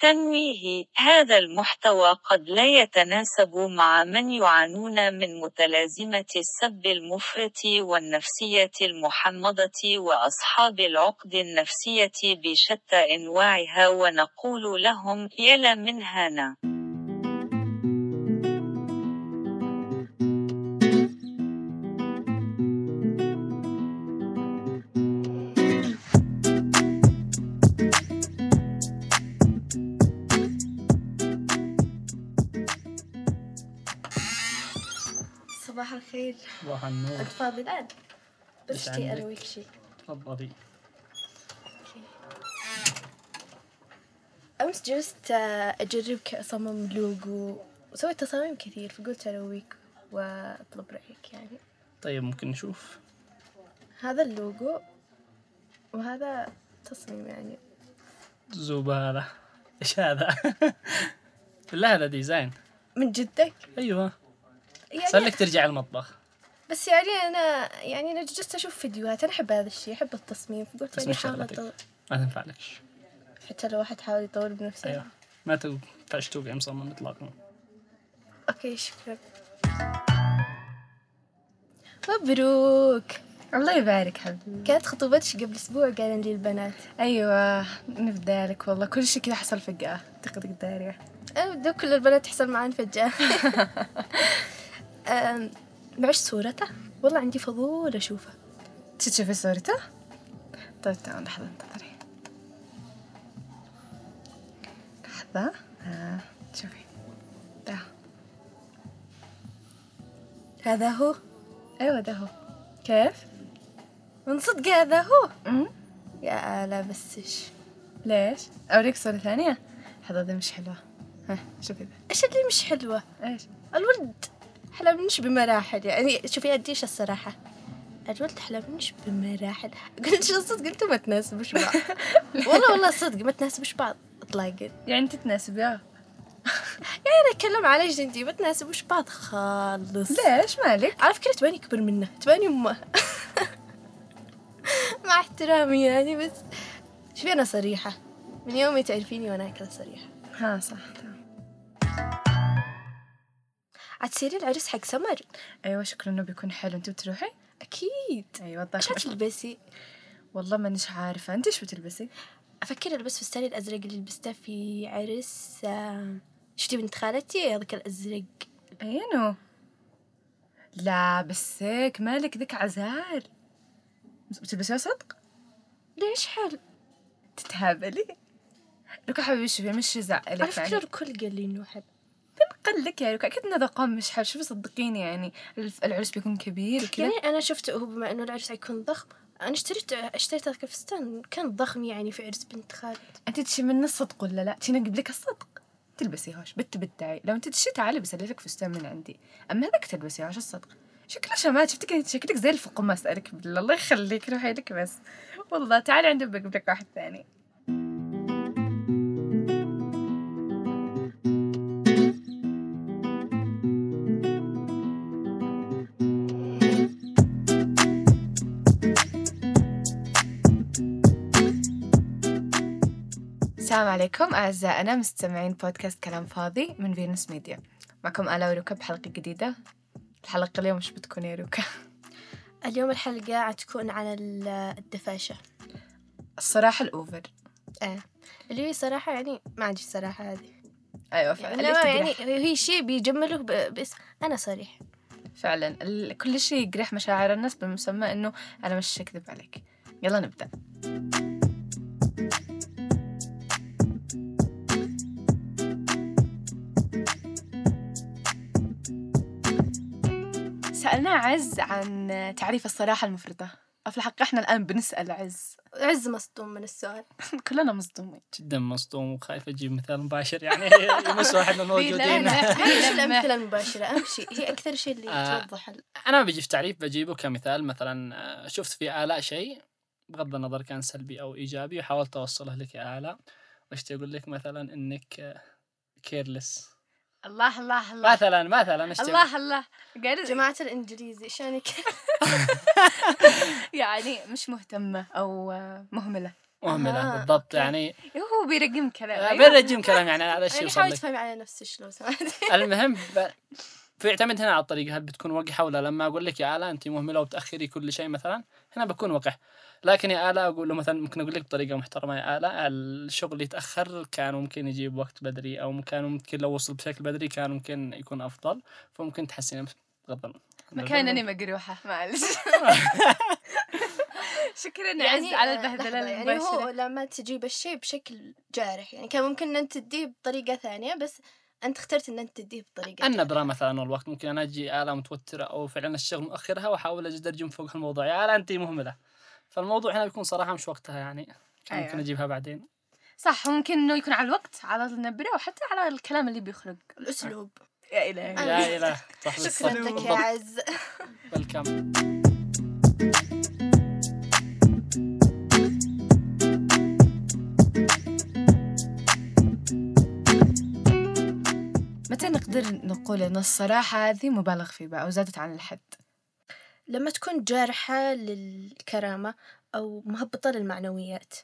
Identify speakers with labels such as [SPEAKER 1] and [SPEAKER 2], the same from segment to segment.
[SPEAKER 1] تنويه هذا المحتوى قد لا يتناسب مع من يعانون من متلازمة السب المفرط والنفسية المحمضة وأصحاب العقد النفسية بشتى أنواعها ونقول لهم يلا من هنا
[SPEAKER 2] صباح الخير
[SPEAKER 3] صباح النور
[SPEAKER 2] انت فاضي الان بس
[SPEAKER 3] إيش
[SPEAKER 2] شتي
[SPEAKER 3] عندك؟
[SPEAKER 2] ارويك شي
[SPEAKER 3] تفضلي
[SPEAKER 2] امس جلست آه، اجرب ك- اصمم لوجو وسويت تصاميم كثير فقلت ارويك واطلب رايك يعني
[SPEAKER 3] طيب ممكن نشوف
[SPEAKER 2] هذا اللوجو وهذا تصميم يعني
[SPEAKER 3] زبالة ايش هذا؟ بالله هذا ديزاين
[SPEAKER 2] من جدك
[SPEAKER 3] ايوه صار
[SPEAKER 2] يعني
[SPEAKER 3] لك ترجع المطبخ
[SPEAKER 2] بس يعني انا يعني انا جلست اشوف فيديوهات انا احب هذا الشيء احب التصميم فقلت
[SPEAKER 3] تصميم
[SPEAKER 2] يعني
[SPEAKER 3] شغلة
[SPEAKER 2] احاول
[SPEAKER 3] لطيفة.
[SPEAKER 2] أطور
[SPEAKER 3] ما تنفع لكش
[SPEAKER 2] حتى لو واحد حاول يطور بنفسه
[SPEAKER 3] ايوه ما تنفعش توقع مصمم اطلاقا
[SPEAKER 2] اوكي شكرا مبروك
[SPEAKER 4] الله يبارك حبيبي
[SPEAKER 2] كانت خطوبتش قبل اسبوع قالن لي البنات
[SPEAKER 4] ايوه نبدالك والله كل شيء كذا حصل فجأة دقدق دارية
[SPEAKER 2] أنا بدو كل البنات تحصل معان فجأة أم، معش صورته والله عندي فضول أشوفه
[SPEAKER 4] تشوفي صورته؟ طيب تمام لحظة انتظري لحظة ها شوفي ده
[SPEAKER 2] هذا هو
[SPEAKER 4] ايوه ده هو كيف؟
[SPEAKER 2] من صدق هذا هو
[SPEAKER 4] أمم.
[SPEAKER 2] يا لا بسش
[SPEAKER 4] ليش؟ اوريك صورة ثانية لحظة دي مش حلوة ها شوفي ذا
[SPEAKER 2] إيش اللي مش حلوة
[SPEAKER 4] ايش؟
[SPEAKER 2] الولد حلمنش بمراحل يعني شوفي أديش الصراحة الولد حلمنش بمراحل قلت شو الصدق أنتم ما تناسبوش بعض والله والله صدق ما تناسبوش بعض إطلاقا
[SPEAKER 4] يعني انت تناسبها
[SPEAKER 2] يعني أنا أتكلم على جندي ما تناسبوش بعض خالص
[SPEAKER 4] ليش مالك؟
[SPEAKER 2] على فكرة تباني كبر منه تباني أمه مع احترامي يعني بس شوفي أنا صريحة من يومي تعرفيني وأنا كذا صريحة
[SPEAKER 4] ها صح تمام
[SPEAKER 2] عتصيري العرس حق سمر
[SPEAKER 4] ايوه شكرا انه بيكون حلو انت بتروحي؟
[SPEAKER 2] أكيد
[SPEAKER 4] ايوه
[SPEAKER 2] إيش
[SPEAKER 4] الضخم
[SPEAKER 2] هتلبسي؟
[SPEAKER 4] والله مانيش عارفة انت ايش بتلبسي؟
[SPEAKER 2] أفكر ألبس فستاني الأزرق اللي لبسته في عرس آه، شفتي بنت خالتي هذاك الأزرق
[SPEAKER 4] عينه لا بسك مالك ذيك عزال بتلبسيها صدق؟
[SPEAKER 2] ليش حلو؟
[SPEAKER 4] تتهابلي لوكا حبيبي شوفي مش
[SPEAKER 2] على
[SPEAKER 4] زعلك
[SPEAKER 2] فكرة
[SPEAKER 4] يعني
[SPEAKER 2] الكل قال لي إنه حلو
[SPEAKER 4] قل لك يا لوكا اكيد انه ضخم مش حلو شوفي صدقيني يعني الف- العرس بيكون كبير وكذا
[SPEAKER 2] يعني أنا شفته هو بما إنه العرس حيكون ضخم أنا اشتريت اشتريت هذاك الفستان كان ضخم يعني في عرس بنت خالتي
[SPEAKER 4] انت تشي من الصدق ولا لا؟ تشي نقبلك الصدق تلبسي هوش بت بتدعي لو انت تشي تعالي بسلي لك فستان من عندي اما هذاك تلبسي هوش الصدق شكله شمال شفتك شكلك زي الفقمة اسالك بالله الله يخليك روحي لك بس والله تعالي عندي بقبل لك واحد ثاني السلام عليكم أعزائنا مستمعين بودكاست كلام فاضي من فينوس ميديا معكم آلا وروكا بحلقة جديدة الحلقة اليوم مش بتكون يا روكا
[SPEAKER 2] اليوم الحلقة عتكون عن ال- الدفاشة
[SPEAKER 4] الصراحة الأوفر
[SPEAKER 2] آه. اللي هي صراحة يعني ما عندي الصراحة هذه يعني,
[SPEAKER 4] أيوة فعلا
[SPEAKER 2] إنما
[SPEAKER 4] اللي
[SPEAKER 2] يعني
[SPEAKER 4] تجرح.
[SPEAKER 2] هي شيء بيجمله ب- باسم أنا صريح
[SPEAKER 4] فعلا ال- كل شيء يجرح مشاعر الناس بمسمى إنه أنا مش أكذب عليك يلا نبدأ سألنا عز عن تعريف الصراحة المفرطة في الحقيقة احنا الآن بنسأل عز
[SPEAKER 2] عز مصدوم من السؤال
[SPEAKER 4] كلنا مصدومين
[SPEAKER 3] جدا مصدوم وخايف اجيب مثال مباشر يعني يمس واحد من الموجودين
[SPEAKER 4] لا.
[SPEAKER 2] هذه مش الأمثلة المباشرة أهم شيء هي أكثر شيء اللي
[SPEAKER 3] آه.
[SPEAKER 2] توضح ال-
[SPEAKER 3] انا ما بجي في تعريف بجيبه كمثال مثلا آه، شفت في الاء شيء بغض النظر كان سلبي او ايجابي وحاولت اوصله لك يا الاء واشتي اقول لك آه، مثلا انك كيرلس
[SPEAKER 4] الله الله الله
[SPEAKER 3] مثلا مثلا اشتي أقول-
[SPEAKER 4] الله الله قاعد
[SPEAKER 2] جماعة الإنجليزي شاني كذا
[SPEAKER 4] يعني مش مهتمة أو مهملة
[SPEAKER 3] مهمله
[SPEAKER 2] آه،
[SPEAKER 3] بالضبط
[SPEAKER 2] أوكي.
[SPEAKER 3] يعني
[SPEAKER 4] هو بيرقم كلام
[SPEAKER 3] آه،
[SPEAKER 4] أيوة.
[SPEAKER 3] بنرجم كلام يعني هذا الشيء
[SPEAKER 2] يعني
[SPEAKER 3] وصل
[SPEAKER 2] حاولت
[SPEAKER 3] لك
[SPEAKER 2] تفهمي على نفسك لو سمحتي
[SPEAKER 3] المهم ب... فيعتمد هنا على الطريقه هل بتكون وقحه ولا لا؟ لما اقول لك يا اله انت مهمله وبتاخري كل شيء مثلا هنا بكون وقح لكن يا اله اقول له مثلا ممكن اقول لك بطريقه محترمه يا اله الشغل يتاخر كان ممكن يجيب وقت بدري او كان ممكن لو وصل بشكل بدري كان ممكن يكون افضل فممكن تحسين غضب
[SPEAKER 4] مكانني مجروحة معلش
[SPEAKER 3] آه.
[SPEAKER 4] شكرا عز
[SPEAKER 2] يعني
[SPEAKER 4] على
[SPEAKER 2] آه،
[SPEAKER 4] البهدلة
[SPEAKER 2] لحظة، يعني هو
[SPEAKER 4] المباشرة
[SPEAKER 2] لما تجيب الشيء بشكل جارح يعني كان ممكن أن تديه بطريقة ثانية بس أنت اخترت أن أنت تديه بطريقة
[SPEAKER 3] النبره مثلا والوقت ممكن انا اجي اله متوتره او فعلا الشغل مؤخرها واحاول اجد ارجم فوق الموضوع يا اله انت مهمله فالموضوع هنا بيكون صراحه مش وقتها يعني كان ممكن
[SPEAKER 4] أيوة.
[SPEAKER 3] اجيبها بعدين
[SPEAKER 4] صح ممكن انه يكون على الوقت على النبرة وحتى على الكلام اللي بيخرج آه.
[SPEAKER 2] الأسلوب
[SPEAKER 4] يا الهي
[SPEAKER 2] أنا-
[SPEAKER 3] يا اله صح
[SPEAKER 2] شكرا
[SPEAKER 3] بالضبط،
[SPEAKER 2] أيوة. لك يا
[SPEAKER 3] بالضبط.
[SPEAKER 2] عز
[SPEAKER 3] Welcome.
[SPEAKER 4] متى نقدر نقول ان الصراحة هذه مبالغ فيها بقى او زادت عن الحد
[SPEAKER 2] لما تكون جارحة للكرامة أو مهبطة للمعنويات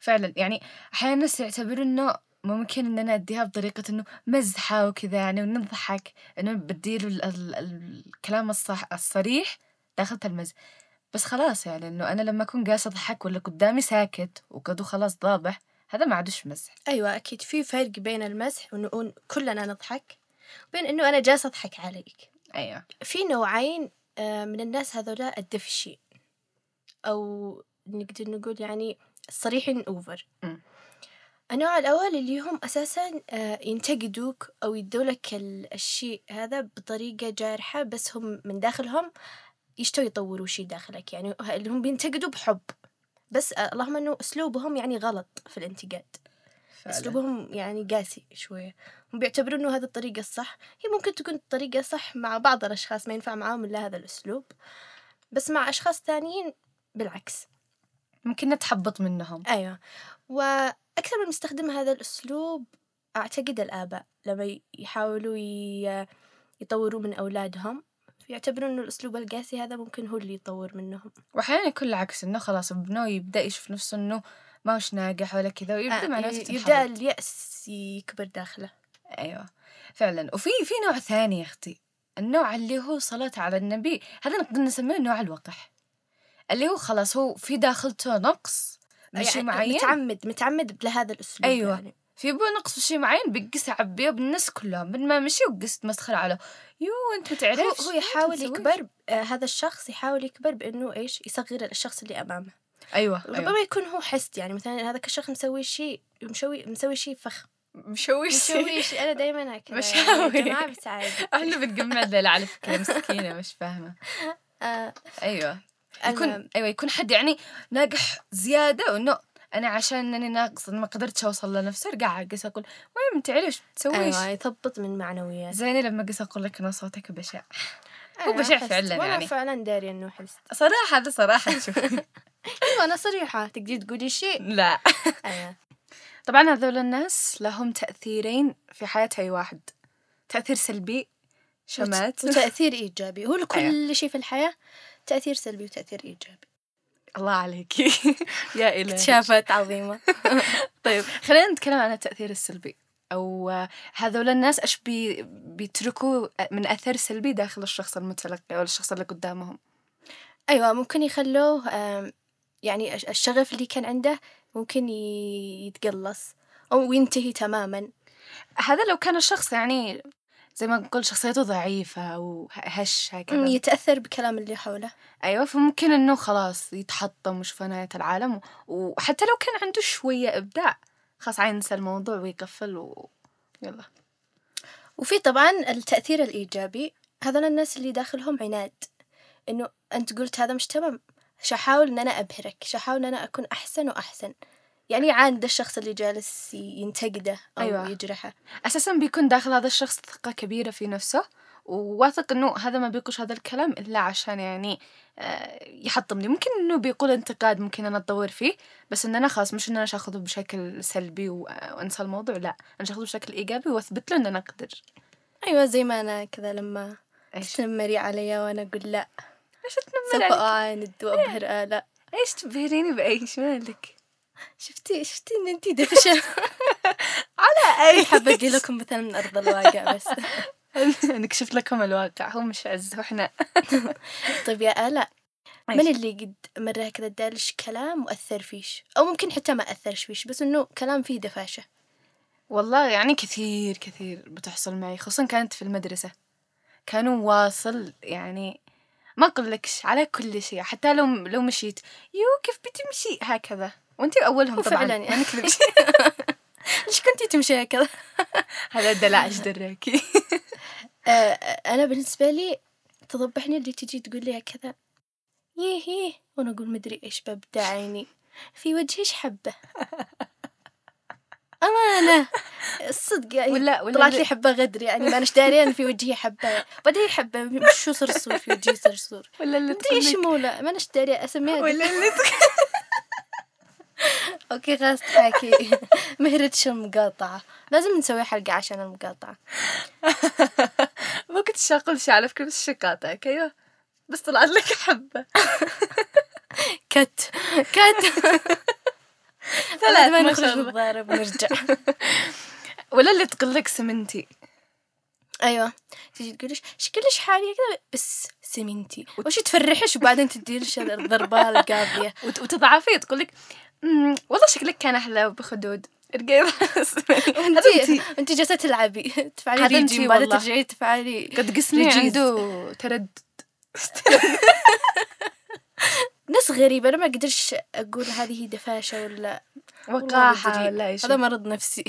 [SPEAKER 4] فعلا يعني احيانا الناس يعتبروا انه ممكن ان انا اديها بطريقة انه مزحة وكذا يعني ونضحك انه بديله ال- ال- ال- الكلام الصح الصريح داخل المزح بس خلاص يعني انه انا لما اكون جالسة اضحك ولا قدامي ساكت وكده خلاص ضابح هذا ما عادش مزح
[SPEAKER 2] أيوة أكيد في فرق بين المزح وإنه أن- كلنا نضحك بين إنه أنا جالسة أضحك عليك
[SPEAKER 4] ايوه
[SPEAKER 2] في نوعين آه، من الناس هذولا الدفشي أو نقدر نقول يعني صريحين أوفر
[SPEAKER 4] مم.
[SPEAKER 2] النوع الأول اللي هم أساسا آه، ينتقدوك أو يدولك ال- الشيء هذا بطريقة جارحة بس هم من داخلهم يشتوا يطوروا شيء داخلك يعني ه- اللي هم بينتقدوا بحب بس آه، اللهم انه اسلوبهم يعني غلط في الانتقاد اسلوبهم يعني قاسي شويه هم بيعتبروا انه هذه الطريقه الصح هي ممكن تكون الطريقه صح مع بعض الاشخاص ما ينفع معاهم الا هذا الاسلوب بس مع اشخاص ثانيين بالعكس
[SPEAKER 4] ممكن نتحبط منهم
[SPEAKER 2] ايوه واكثر من مستخدم هذا الاسلوب اعتقد الاباء لما ي- يحاولوا ي- يطوروا من اولادهم يعتبروا انه الاسلوب القاسي هذا ممكن هو اللي يطور منهم
[SPEAKER 4] واحيانا يكون العكس انه خلاص ابنه يبدا يشوف نفسه انه ما هوش ناجح ولا كذا ويبدا
[SPEAKER 2] آه،
[SPEAKER 4] مع
[SPEAKER 2] ي-
[SPEAKER 4] نفسه
[SPEAKER 2] يبدا
[SPEAKER 4] يبدا
[SPEAKER 2] الياس يكبر داخله
[SPEAKER 4] ايوه فعلا وفي في نوع ثاني يا اختي النوع اللي هو صلاة على النبي هذا نقدر نسميه نوع الوقح اللي هو خلاص هو في داخلته نقص بشيء معين
[SPEAKER 2] يعني متعمد متعمد لهذا الاسلوب
[SPEAKER 4] أيوة.
[SPEAKER 2] يعني.
[SPEAKER 4] في بو نقص بشيء معين بقيس عبيه بالناس كلهم من ما مشي وقست مسخرة على يو انت ما
[SPEAKER 2] هو,
[SPEAKER 4] تعرفش
[SPEAKER 2] هو
[SPEAKER 4] أنت ما
[SPEAKER 2] يحاول
[SPEAKER 4] تسويش.
[SPEAKER 2] يكبر آه هذا الشخص يحاول يكبر بانه ايش يصغر الشخص اللي امامه
[SPEAKER 4] ايوه
[SPEAKER 2] ربما
[SPEAKER 4] ايوه
[SPEAKER 2] يكون هو حسد يعني مثلا هذاك الشخص مسوي شيء مشوي مسوي شيء فخم
[SPEAKER 4] مشوش
[SPEAKER 2] مسوي شيء انا دائما هكذا
[SPEAKER 4] مشاوي.
[SPEAKER 2] يعني يا جماعه بس عادي
[SPEAKER 4] احنا بنجمع الليلة على فكرة مسكينة مش فاهمة
[SPEAKER 2] آه
[SPEAKER 4] ايوه
[SPEAKER 2] أنا-
[SPEAKER 4] يكون ايوه يكون حد يعني ناجح زياده وانه انا عشان انني ناقص ما قدرتش اوصل لنفسي ارجع اقيس اقول وين انت ليش تسويش
[SPEAKER 2] ايوه يثبط من معنويات
[SPEAKER 4] زيني لما قيس اقول لك انا صوتك بشع هو بشع
[SPEAKER 2] حسد.
[SPEAKER 4] فعلا
[SPEAKER 2] وانا
[SPEAKER 4] يعني.
[SPEAKER 2] فعلا داري انه حسد
[SPEAKER 4] صراحه هذا صراحه شوف
[SPEAKER 2] ايوه انا صريحه تقدري تقولي شيء
[SPEAKER 4] لا
[SPEAKER 2] ايوه
[SPEAKER 4] طبعا هذول الناس لهم تاثيرين في حياه اي واحد تاثير سلبي شمات
[SPEAKER 2] وتاثير ايجابي هو لكل شيء في الحياه تاثير سلبي وتاثير ايجابي
[SPEAKER 4] الله عليك يا الهي
[SPEAKER 2] اكتشافات عظيمه
[SPEAKER 4] طيب خلينا نتكلم عن التأثير السلبي أو آه، هذول الناس إيش بي بيتركوا من أثر سلبي داخل الشخص المتلقي أو الشخص اللي قدامهم
[SPEAKER 2] أيوة ممكن يخلوه آم، يعني الش- الشغف اللي كان عنده ممكن ي- يتقلص أو ينتهي تماما
[SPEAKER 4] هذا لو كان الشخص يعني زي ما نقول شخصيته ضعيفة أو هش
[SPEAKER 2] مم،
[SPEAKER 4] هكذا
[SPEAKER 2] يتأثر بكلام اللي حوله
[SPEAKER 4] أيوة فممكن إنه خلاص يتحطم ويشوف نهاية العالم و- وحتى لو كان عنده شوية إبداع خلاص عينسى الموضوع ويقفل و... يلا
[SPEAKER 2] وفي طبعا التأثير الإيجابي هذول الناس اللي داخلهم عناد إنه أنت قلت هذا مش تمام شحاول إن أنا أبهرك شحاول إن أنا أكون أحسن وأحسن يعني عاند الشخص اللي جالس ي- ينتقده أو
[SPEAKER 4] أيوة.
[SPEAKER 2] أيوة. يجرحه
[SPEAKER 4] اساسا بيكون داخل هذا الشخص ثقه كبيره في نفسه وواثق انه هذا ما بيقولش هذا الكلام الا عشان يعني آه، يحطمني ممكن انه بيقول انتقاد ممكن انا اتطور فيه بس ان انا خلاص مش ان انا شاخذه بشكل سلبي و- وانسى الموضوع لا انا شاخذه بشكل ايجابي واثبت له ان انا اقدر
[SPEAKER 2] أيوة زي ما أنا كذا لما
[SPEAKER 4] ايش
[SPEAKER 2] تتنمري علي وأنا أقول لا
[SPEAKER 4] ايش
[SPEAKER 2] سوف
[SPEAKER 4] تنمر عليك؟
[SPEAKER 2] أعاند وأبهر آه لا
[SPEAKER 4] ايش تبهريني بايش مالك
[SPEAKER 2] شفتي شفتي ان انتي دفشه على اي حابه ادي لكم مثال من ارض الواقع بس
[SPEAKER 4] انا كشفت لكم الواقع هو مش عز واحنا
[SPEAKER 2] طيب يا آلاء
[SPEAKER 4] إيش؟
[SPEAKER 2] من اللي قد مرة كذا دالش كلام وأثر فيش أو ممكن حتى ما أثرش فيش بس إنه كلام فيه دفاشة
[SPEAKER 4] والله يعني كثير كثير بتحصل معي خصوصا كانت في المدرسة كانوا واصل يعني ما أقولكش على كل شيء حتى لو لو مشيت يو كيف بتمشي هكذا وانت أولهم طبعا
[SPEAKER 2] وفعلاً
[SPEAKER 4] ما
[SPEAKER 2] يعني.
[SPEAKER 4] نكذب
[SPEAKER 2] ليش كنتي تمشي هكذا؟
[SPEAKER 4] هذا الدلعش دراكي
[SPEAKER 2] آه، آه، أنا بالنسبة لي تضبحني اللي تجي تقول لي هكذا يه يه وأنا أقول مدري إيش ببدع عيني في وجهش حبة أمانة الصدق يعني
[SPEAKER 4] ولا ولا
[SPEAKER 2] طلعت لي حبة غدر يعني ما أناش دارية إن في وجهي حبة بعدين حبة شو صرصور في وجهي صرصور
[SPEAKER 4] ولا اللي
[SPEAKER 2] مدري ايش
[SPEAKER 4] تقولك-
[SPEAKER 2] مولى ما أناش دارية أسميها
[SPEAKER 4] ولا اللي تقول-
[SPEAKER 2] اوكي غاز تحاكي مهرتش المقاطعة لازم نسوي حلقة عشان المقاطعة
[SPEAKER 4] ما كنت شاقل شي على فكرة بس شقاطعك أيوه بس طلعت لك حبة
[SPEAKER 2] كت كت ثلاث ما
[SPEAKER 4] ما
[SPEAKER 2] نخرج
[SPEAKER 4] شاء الله.
[SPEAKER 2] الضارب ونرجع
[SPEAKER 4] ولا اللي تقول لك سمنتي
[SPEAKER 2] ايوه تجي تقولش شكلش حالية كذا بس سمنتي وش تفرحش وبعدين تديلش الضربة القاضية
[SPEAKER 4] وت- وتضعفي تقول لك "أمم، والله شكلك كان أحلى بخدود ارقي راسك
[SPEAKER 2] انتي انتي جالسة تلعبي تفعلي
[SPEAKER 4] هذا
[SPEAKER 2] ريجي
[SPEAKER 4] أنتي
[SPEAKER 2] وبعدين
[SPEAKER 4] والله.
[SPEAKER 2] ترجعي تفعلي
[SPEAKER 4] قد قسمي
[SPEAKER 2] رجيز.
[SPEAKER 4] عنده تردد
[SPEAKER 2] ناس غريبة انا ما اقدرش اقول هذه دفاشة ولا
[SPEAKER 4] وقاحة
[SPEAKER 2] مدري.
[SPEAKER 4] ولا أي
[SPEAKER 2] هذا
[SPEAKER 4] شيء
[SPEAKER 2] مرض نفسي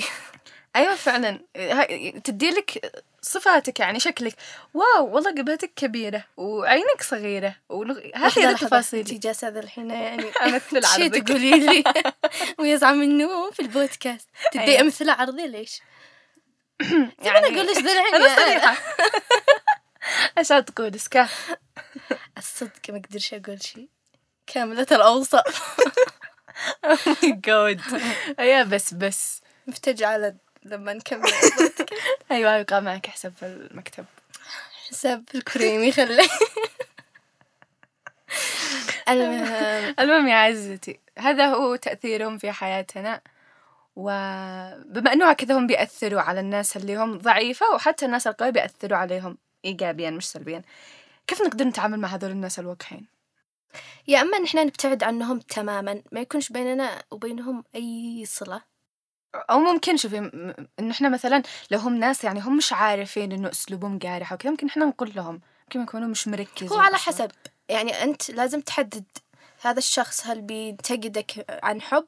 [SPEAKER 4] أيوة فعلا هاي- تديلك صفاتك يعني شكلك واو والله جبهتك كبيرة وعينك صغيرة ونغ- هذه
[SPEAKER 2] انتي
[SPEAKER 4] التفاصيل
[SPEAKER 2] جالسة الحين يعني
[SPEAKER 4] أمثل
[SPEAKER 2] شي
[SPEAKER 4] العربي
[SPEAKER 2] تقولي لي ويزعل منه في البودكاست تدي
[SPEAKER 4] أيوة.
[SPEAKER 2] امثله عرضي ليش؟
[SPEAKER 4] يعني
[SPEAKER 2] انا اقول لك ذا الحين
[SPEAKER 4] أنا
[SPEAKER 2] يا-
[SPEAKER 4] صريحة Oh عشان تقول اسكا
[SPEAKER 2] الصدق ما اقدرش اقول شيء كاملة الاوصاف
[SPEAKER 4] جود أيوة بس بس
[SPEAKER 2] مفتجعة لما نكمل
[SPEAKER 4] أيوة يبقى معك حساب في المكتب
[SPEAKER 2] حساب الكريمي خليه المهم
[SPEAKER 4] المهم يا عزتي هذا هو تأثيرهم في حياتنا وبما أنه هكذا هم بيأثروا على الناس اللي هم ضعيفة وحتى الناس القوية بيأثروا عليهم إيجابيا مش سلبيا كيف نقدر نتعامل مع هذول الناس الوقحين؟
[SPEAKER 2] يا اما نحن نبتعد عنهم تماما ما يكونش بيننا وبينهم اي صله
[SPEAKER 4] أو ممكن شوفي م- م- إن إحنا مثلا لو هم ناس يعني هم مش عارفين إنه أسلوبهم جارح وكذا ممكن إحنا نقول لهم ممكن يكونوا مش مركزين
[SPEAKER 2] هو على
[SPEAKER 4] أصلاً.
[SPEAKER 2] حسب يعني أنت لازم تحدد هذا الشخص هل بينتقدك عن حب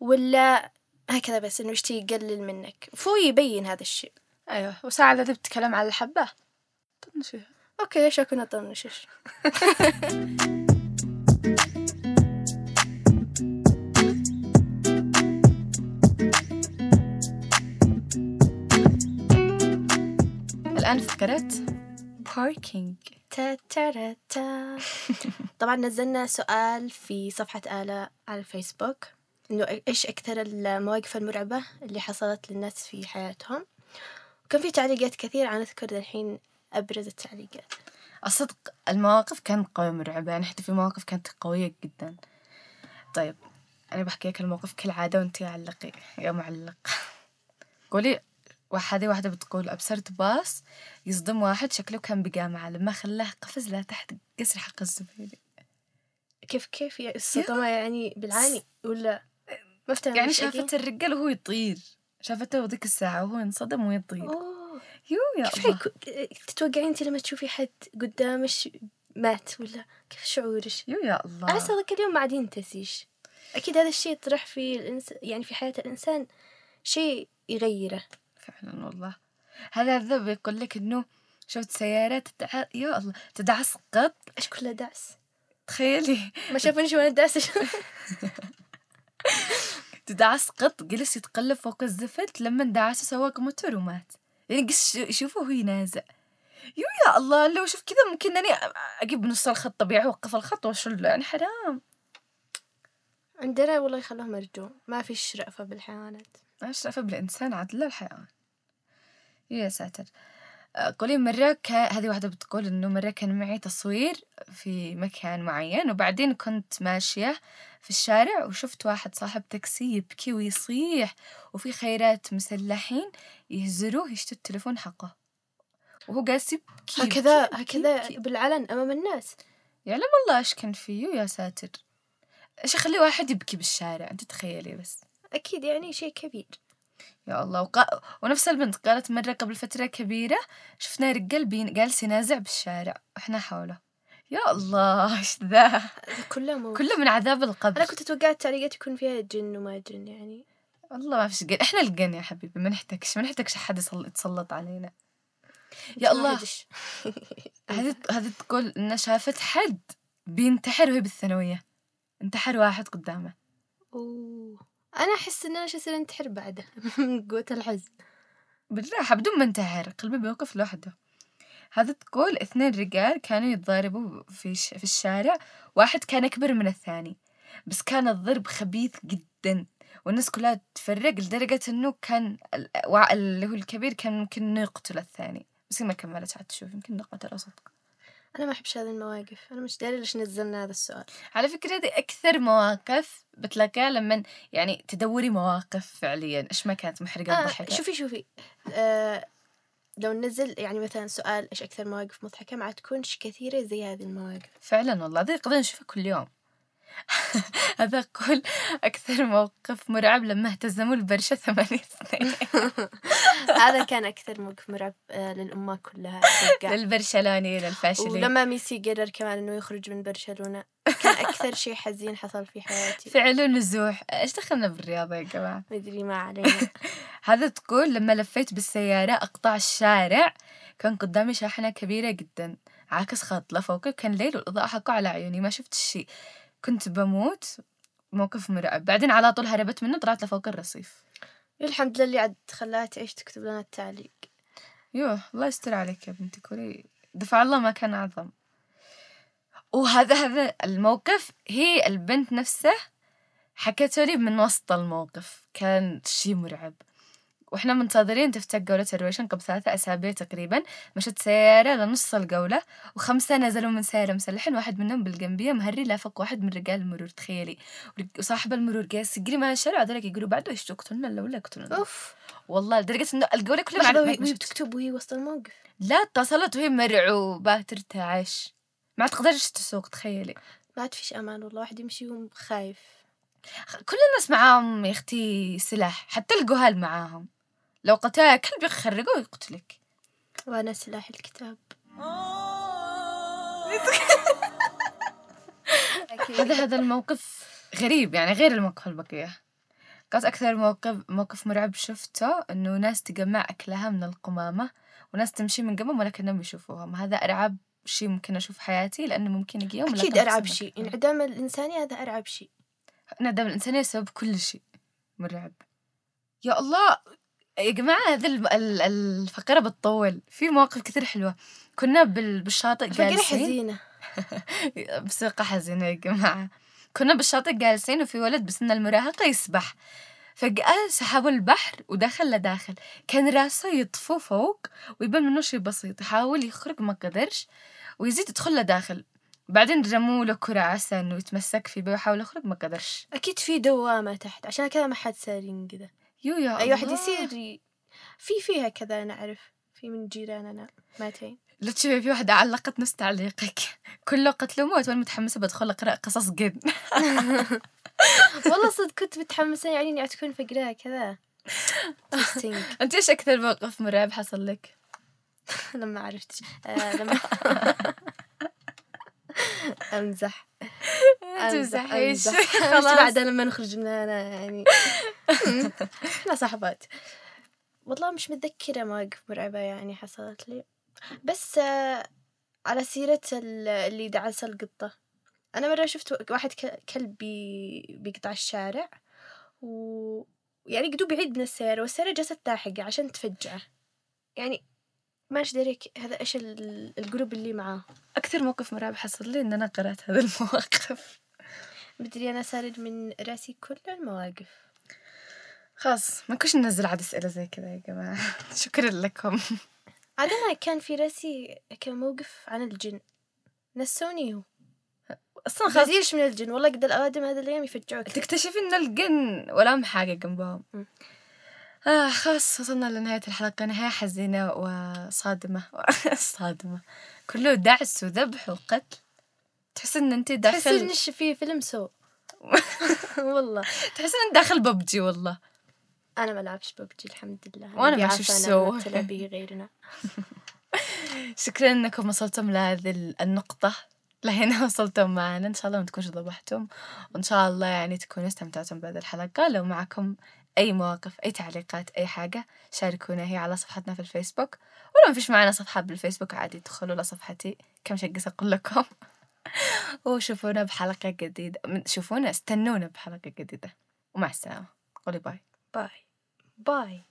[SPEAKER 2] ولا هكذا بس إنه يشتي يقلل منك فهو يبين هذا الشيء
[SPEAKER 4] أيوه وساعة إذا بتتكلم على الحبة طنشيها
[SPEAKER 2] أوكي ليش أكون أطنشش
[SPEAKER 4] الآن فكرة باركينج
[SPEAKER 2] تا تا را تا. طبعا نزلنا سؤال في صفحة آلاء على الفيسبوك إنه إيش أكثر المواقف المرعبة اللي حصلت للناس في حياتهم وكان في تعليقات كثير أنا أذكر الحين أبرز التعليقات
[SPEAKER 4] الصدق المواقف كانت قوية مرعبة يعني حتى في مواقف كانت قوية جدا طيب أنا بحكي لك الموقف كالعادة وأنتي علقي يا معلق قولي وحدة واحدة بتقول أبصرت باص يصدم واحد شكله كان بجامعة لما خلاه قفز لا تحت قصر حق الزبيدي
[SPEAKER 2] كيف كيف يعني الصدمة يعني بالعاني ولا ما افتهم
[SPEAKER 4] يعني
[SPEAKER 2] إيش أقول.
[SPEAKER 4] شافت الرجال وهو يطير شافته ذيك الساعة وهو ينصدم ويطير
[SPEAKER 2] أوه،
[SPEAKER 4] يو يا
[SPEAKER 2] كيف
[SPEAKER 4] الله
[SPEAKER 2] حيكون تتوقعين انت لما تشوفي حد قدامش مات ولا كيف شعورك؟
[SPEAKER 4] يو يا الله
[SPEAKER 2] احس هذاك اليوم ما عاد ينتسيش اكيد هذا الشيء يطرح في الإنس... يعني في حياة الانسان شيء يغيره
[SPEAKER 4] فعلا والله هذا الذب يقول لك انه شفت سيارة تدع... يا الله تدعس قط
[SPEAKER 2] ايش كله دعس
[SPEAKER 4] تخيلي
[SPEAKER 2] ما شافونيش وانا دعس
[SPEAKER 4] تدعس قط جلس يتقلب فوق الزفت لما دعسه سواق موتور ومات يعني قس شوفه وهو ينازع يو يا الله لو شوف كذا ممكن اني اجيب نص الخط طبيعي اوقف الخط واشله يعني حرام
[SPEAKER 2] عندنا والله يخلوهم يرجعوا ما فيش رأفة بالحيوانات
[SPEAKER 4] اشرف بالانسان عدل الحيوان يو يا ساتر آه، قولي مرة ك... هذه واحدة بتقول إنه مرة كان معي تصوير في مكان معين وبعدين كنت ماشية في الشارع وشفت واحد صاحب تاكسي يبكي ويصيح وفي خيرات مسلحين يهزروه يشتوا التلفون حقه وهو جالس يبكي
[SPEAKER 2] هكذا
[SPEAKER 4] يبكي- يبكي-
[SPEAKER 2] هكذا
[SPEAKER 4] يبكي.
[SPEAKER 2] بالعلن امام الناس
[SPEAKER 4] يعلم الله ايش كان فيه يا ساتر ايش يخلي واحد يبكي بالشارع انت تخيلي بس
[SPEAKER 2] اكيد يعني شيء كبير
[SPEAKER 4] يا الله وق... ونفس البنت قالت مرة قبل فترة كبيرة شفنا رجال بين جالس ينازع بالشارع وإحنا حوله يا الله إيش ذا
[SPEAKER 2] هذا كله مو
[SPEAKER 4] كله من عذاب القبر
[SPEAKER 2] انا كنت اتوقع التعليقات يكون فيها جن وما جن يعني
[SPEAKER 4] والله ما فيش جن إحنا الجن يا حبيبي ما نحتاجش ما نحتاجش أحد يصل- يتسلط علينا يا الله
[SPEAKER 2] تواحدش.
[SPEAKER 4] هذه هذه تقول إنها شافت حد بينتحر وهي بالثانوية انتحر واحد قدامه
[SPEAKER 2] أوه. انا احس ان انا شو أصير انتحر بعده من قوه الحزن
[SPEAKER 4] بالراحة بدون ما انتحر قلبي بيوقف لوحده هذا تقول اثنين رجال كانوا يتضاربوا في ش... في الشارع واحد كان أكبر من الثاني بس كان الضرب خبيث جدا والناس كلها تفرق لدرجة إنه كان ال- وع- اللي هو الكبير كان ممكن إنه يقتل الثاني بس هي ما كملت عاد تشوف يمكن إنه قتله صدق
[SPEAKER 2] انا ما احبش هذه المواقف انا مش داري ليش نزلنا هذا السؤال
[SPEAKER 4] على فكرة دي أكثر مواقف بتلاقيها لما يعني تدوري مواقف فعليا إيش ما كانت محرقة
[SPEAKER 2] آه
[SPEAKER 4] تضحك
[SPEAKER 2] شوفي شوفي آه لو ننزل يعني مثلا سؤال ايش اكثر مواقف مضحكه ما تكونش كثيره زي هذه المواقف
[SPEAKER 4] فعلا والله ذي قضية نشوفها كل يوم هذا أقول أكثر موقف مرعب لما اهتزموا البرشة ثمانية اثنين
[SPEAKER 2] هذا كان اكثر موقف مرعب آه للامه كلها أتوقع.
[SPEAKER 4] للبرشلوني للفاشلين
[SPEAKER 2] ولما ميسي قرر كمان انه يخرج من برشلونه كان اكثر شيء حزين حصل في حياتي
[SPEAKER 4] فعلوا نزوح إيش دخلنا بالرياضة يا جماعة
[SPEAKER 2] مدري ما علينا
[SPEAKER 4] هذا تقول لما لفيت بالسيارة أقطع الشارع كان قدامي شاحنة كبيرة جدا عاكس خط لفوقي وكان ليل والإضاءة حقه على عيوني ما شفت شيء كنت بموت موقف مرعب بعدين على طول هربت منه طلعت لفوق الرصيف
[SPEAKER 2] الحمد لله اللي عاد خلاها تعيش تكتب لنا التعليق
[SPEAKER 4] يوه الله يستر عليك يا بنتي كوري دفع الله ما كان أعظم وهذا هذا الموقف هي البنت نفسه حكته لي من وسط الموقف كان شي مرعب واحنا منتظرين تفتح جولة الرويشن قبل ثلاثة أسابيع تقريبا مشت سيارة لنص الجولة وخمسة نزلوا من سيارة مسلحين واحد منهم بالجنبية مهري لافق واحد من رجال المرور تخيلي وصاحب المرور جالس يجري مع الشارع هذول يقولوا بعده ايش تقتلنا ولا ولا يقتلنا
[SPEAKER 2] اوف
[SPEAKER 4] والله لدرجة انه الجولة كلها
[SPEAKER 2] لحظه
[SPEAKER 4] ما-
[SPEAKER 2] وهي
[SPEAKER 4] ما
[SPEAKER 2] وهي
[SPEAKER 4] شفت.
[SPEAKER 2] بتكتب وهي وسط الموقف
[SPEAKER 4] لا اتصلت وهي مرعوبة ترتعش ما تقدرش تسوق تخيلي
[SPEAKER 2] ما عاد فيش امان والله واحد يمشي وهو خايف
[SPEAKER 4] كل الناس معاهم يا اختي سلاح حتى الجهال معاهم لو قتلها كلب يخرقه ويقتلك
[SPEAKER 2] وانا سلاح الكتاب
[SPEAKER 4] هذا هذا الموقف غريب يعني غير الموقف البقية قالت أكثر موقف موقف مرعب شفته إنه ناس تجمع أكلها من القمامة وناس تمشي من قبل ولكنهم يشوفوهم هذا أرعب شيء ممكن أشوف حياتي لأنه ممكن يجي يوم
[SPEAKER 2] اكيد ارعب شيء انعدام الانسانيه هذا ارعب شيء
[SPEAKER 4] انعدام الإنسانية سبب كل شيء مرعب يا الله يا جماعة هذا الب- ال- الفقرة بتطول في مواقف كثير حلوة كنا بال- بالشاطئ
[SPEAKER 2] فقرة
[SPEAKER 4] جالسين
[SPEAKER 2] حزينة
[SPEAKER 4] بسرقة حزينة يا جماعة كنا بالشاطئ جالسين وفي ولد بسن المراهقة يسبح فجأة سحبوا البحر ودخل لداخل كان راسه يطفو فوق ويبان منه شي بسيط يحاول يخرج ما قدرش ويزيد يدخل لداخل بعدين رموا له كرة عسى انه يتمسك فيه ويحاول يخرج ما قدرش
[SPEAKER 2] أكيد في دوامة تحت عشان كذا ما حد سارين كذا
[SPEAKER 4] يو يا
[SPEAKER 2] أي واحد
[SPEAKER 4] الله.
[SPEAKER 2] يصير ي- في فيها كذا أنا أعرف في من جيراننا ماتين
[SPEAKER 4] لا تشوفي في واحدة علقت نفس تعليقك كله قتل وموت وانا متحمسة بدخل اقرا قصص جد
[SPEAKER 2] والله صدق كنت متحمسة يعني إني تكون فقرة كذا Interesting.
[SPEAKER 4] انت ايش اكثر موقف مرعب حصل لك؟
[SPEAKER 2] لما عرفت آه لما أمزح
[SPEAKER 4] تمزحيش
[SPEAKER 2] خلاص بعدها لما نخرج من هنا يعني مم. احنا صاحبات والله مش متذكرة مواقف مرعبة يعني حصلت لي بس آه، على سيرة ال- اللي دعس القطة أنا مرة شفت واحد ك- كلب بي- بيقطع الشارع و يعني قدو بعيد من السيارة والسيارة جالسة تلاحقه عشان تفجعه يعني ماش داري هذا ايش ال- الجروب اللي معاه
[SPEAKER 4] اكثر موقف مرعب حصل لي ان انا قرات هذا المواقف
[SPEAKER 2] مدري أنا صارت من راسي كل المواقف
[SPEAKER 4] خلاص ما كنش ننزل عاد اسئله زي كذا يا جماعه شكرا لكم
[SPEAKER 2] عاد انا كان في راسي كان موقف عن الجن نسوني هو
[SPEAKER 4] اصلا خلاص
[SPEAKER 2] خزيرش من الجن والله قد الاوادم هذا الايام يفجعوك
[SPEAKER 4] تكتشف ان الجن ولا حاجه جنبهم
[SPEAKER 2] م.
[SPEAKER 4] آه خلاص وصلنا لنهاية الحلقة نهاية حزينة وصادمة صادمة كله دعس وذبح وقتل تحس ان انت
[SPEAKER 2] تحس
[SPEAKER 4] داخل
[SPEAKER 2] انش في فيلم سو والله
[SPEAKER 4] تحس ان انت داخل ببجي والله
[SPEAKER 2] انا ما العبش ببجي الحمد لله أنا
[SPEAKER 4] وأنا ما
[SPEAKER 2] عارفة
[SPEAKER 4] أشوف
[SPEAKER 2] أنا
[SPEAKER 4] سو.
[SPEAKER 2] ما تلعب به غيرنا
[SPEAKER 4] شكرا انكم وصلتم لهذه ال- النقطة لهنا وصلتم معنا ان شاء الله ما تكونش ضبحتم وان شاء الله يعني تكونوا استمتعتم بهذه الحلقة لو معكم اي مواقف اي تعليقات اي حاجة شاركونا هي على صفحتنا في الفيسبوك ولو ما فيش معنا صفحة بالفيسبوك عادي تدخلوا لصفحتي كم شقة اقول لكم وشوفونا بحلقة جديدة من- شوفونا استنونا بحلقة جديدة ومع السلامة قولي باي
[SPEAKER 2] باي باي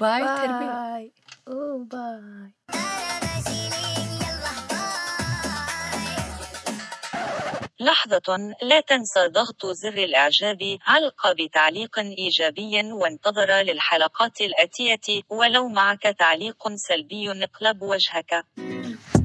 [SPEAKER 4] باي, تربية
[SPEAKER 2] باي اوه باي
[SPEAKER 1] لحظة لا تنسى ضغط زر الإعجاب علق بتعليق إيجابي وانتظر للحلقات الآتية ولو معك تعليق سلبي اقلب وجهك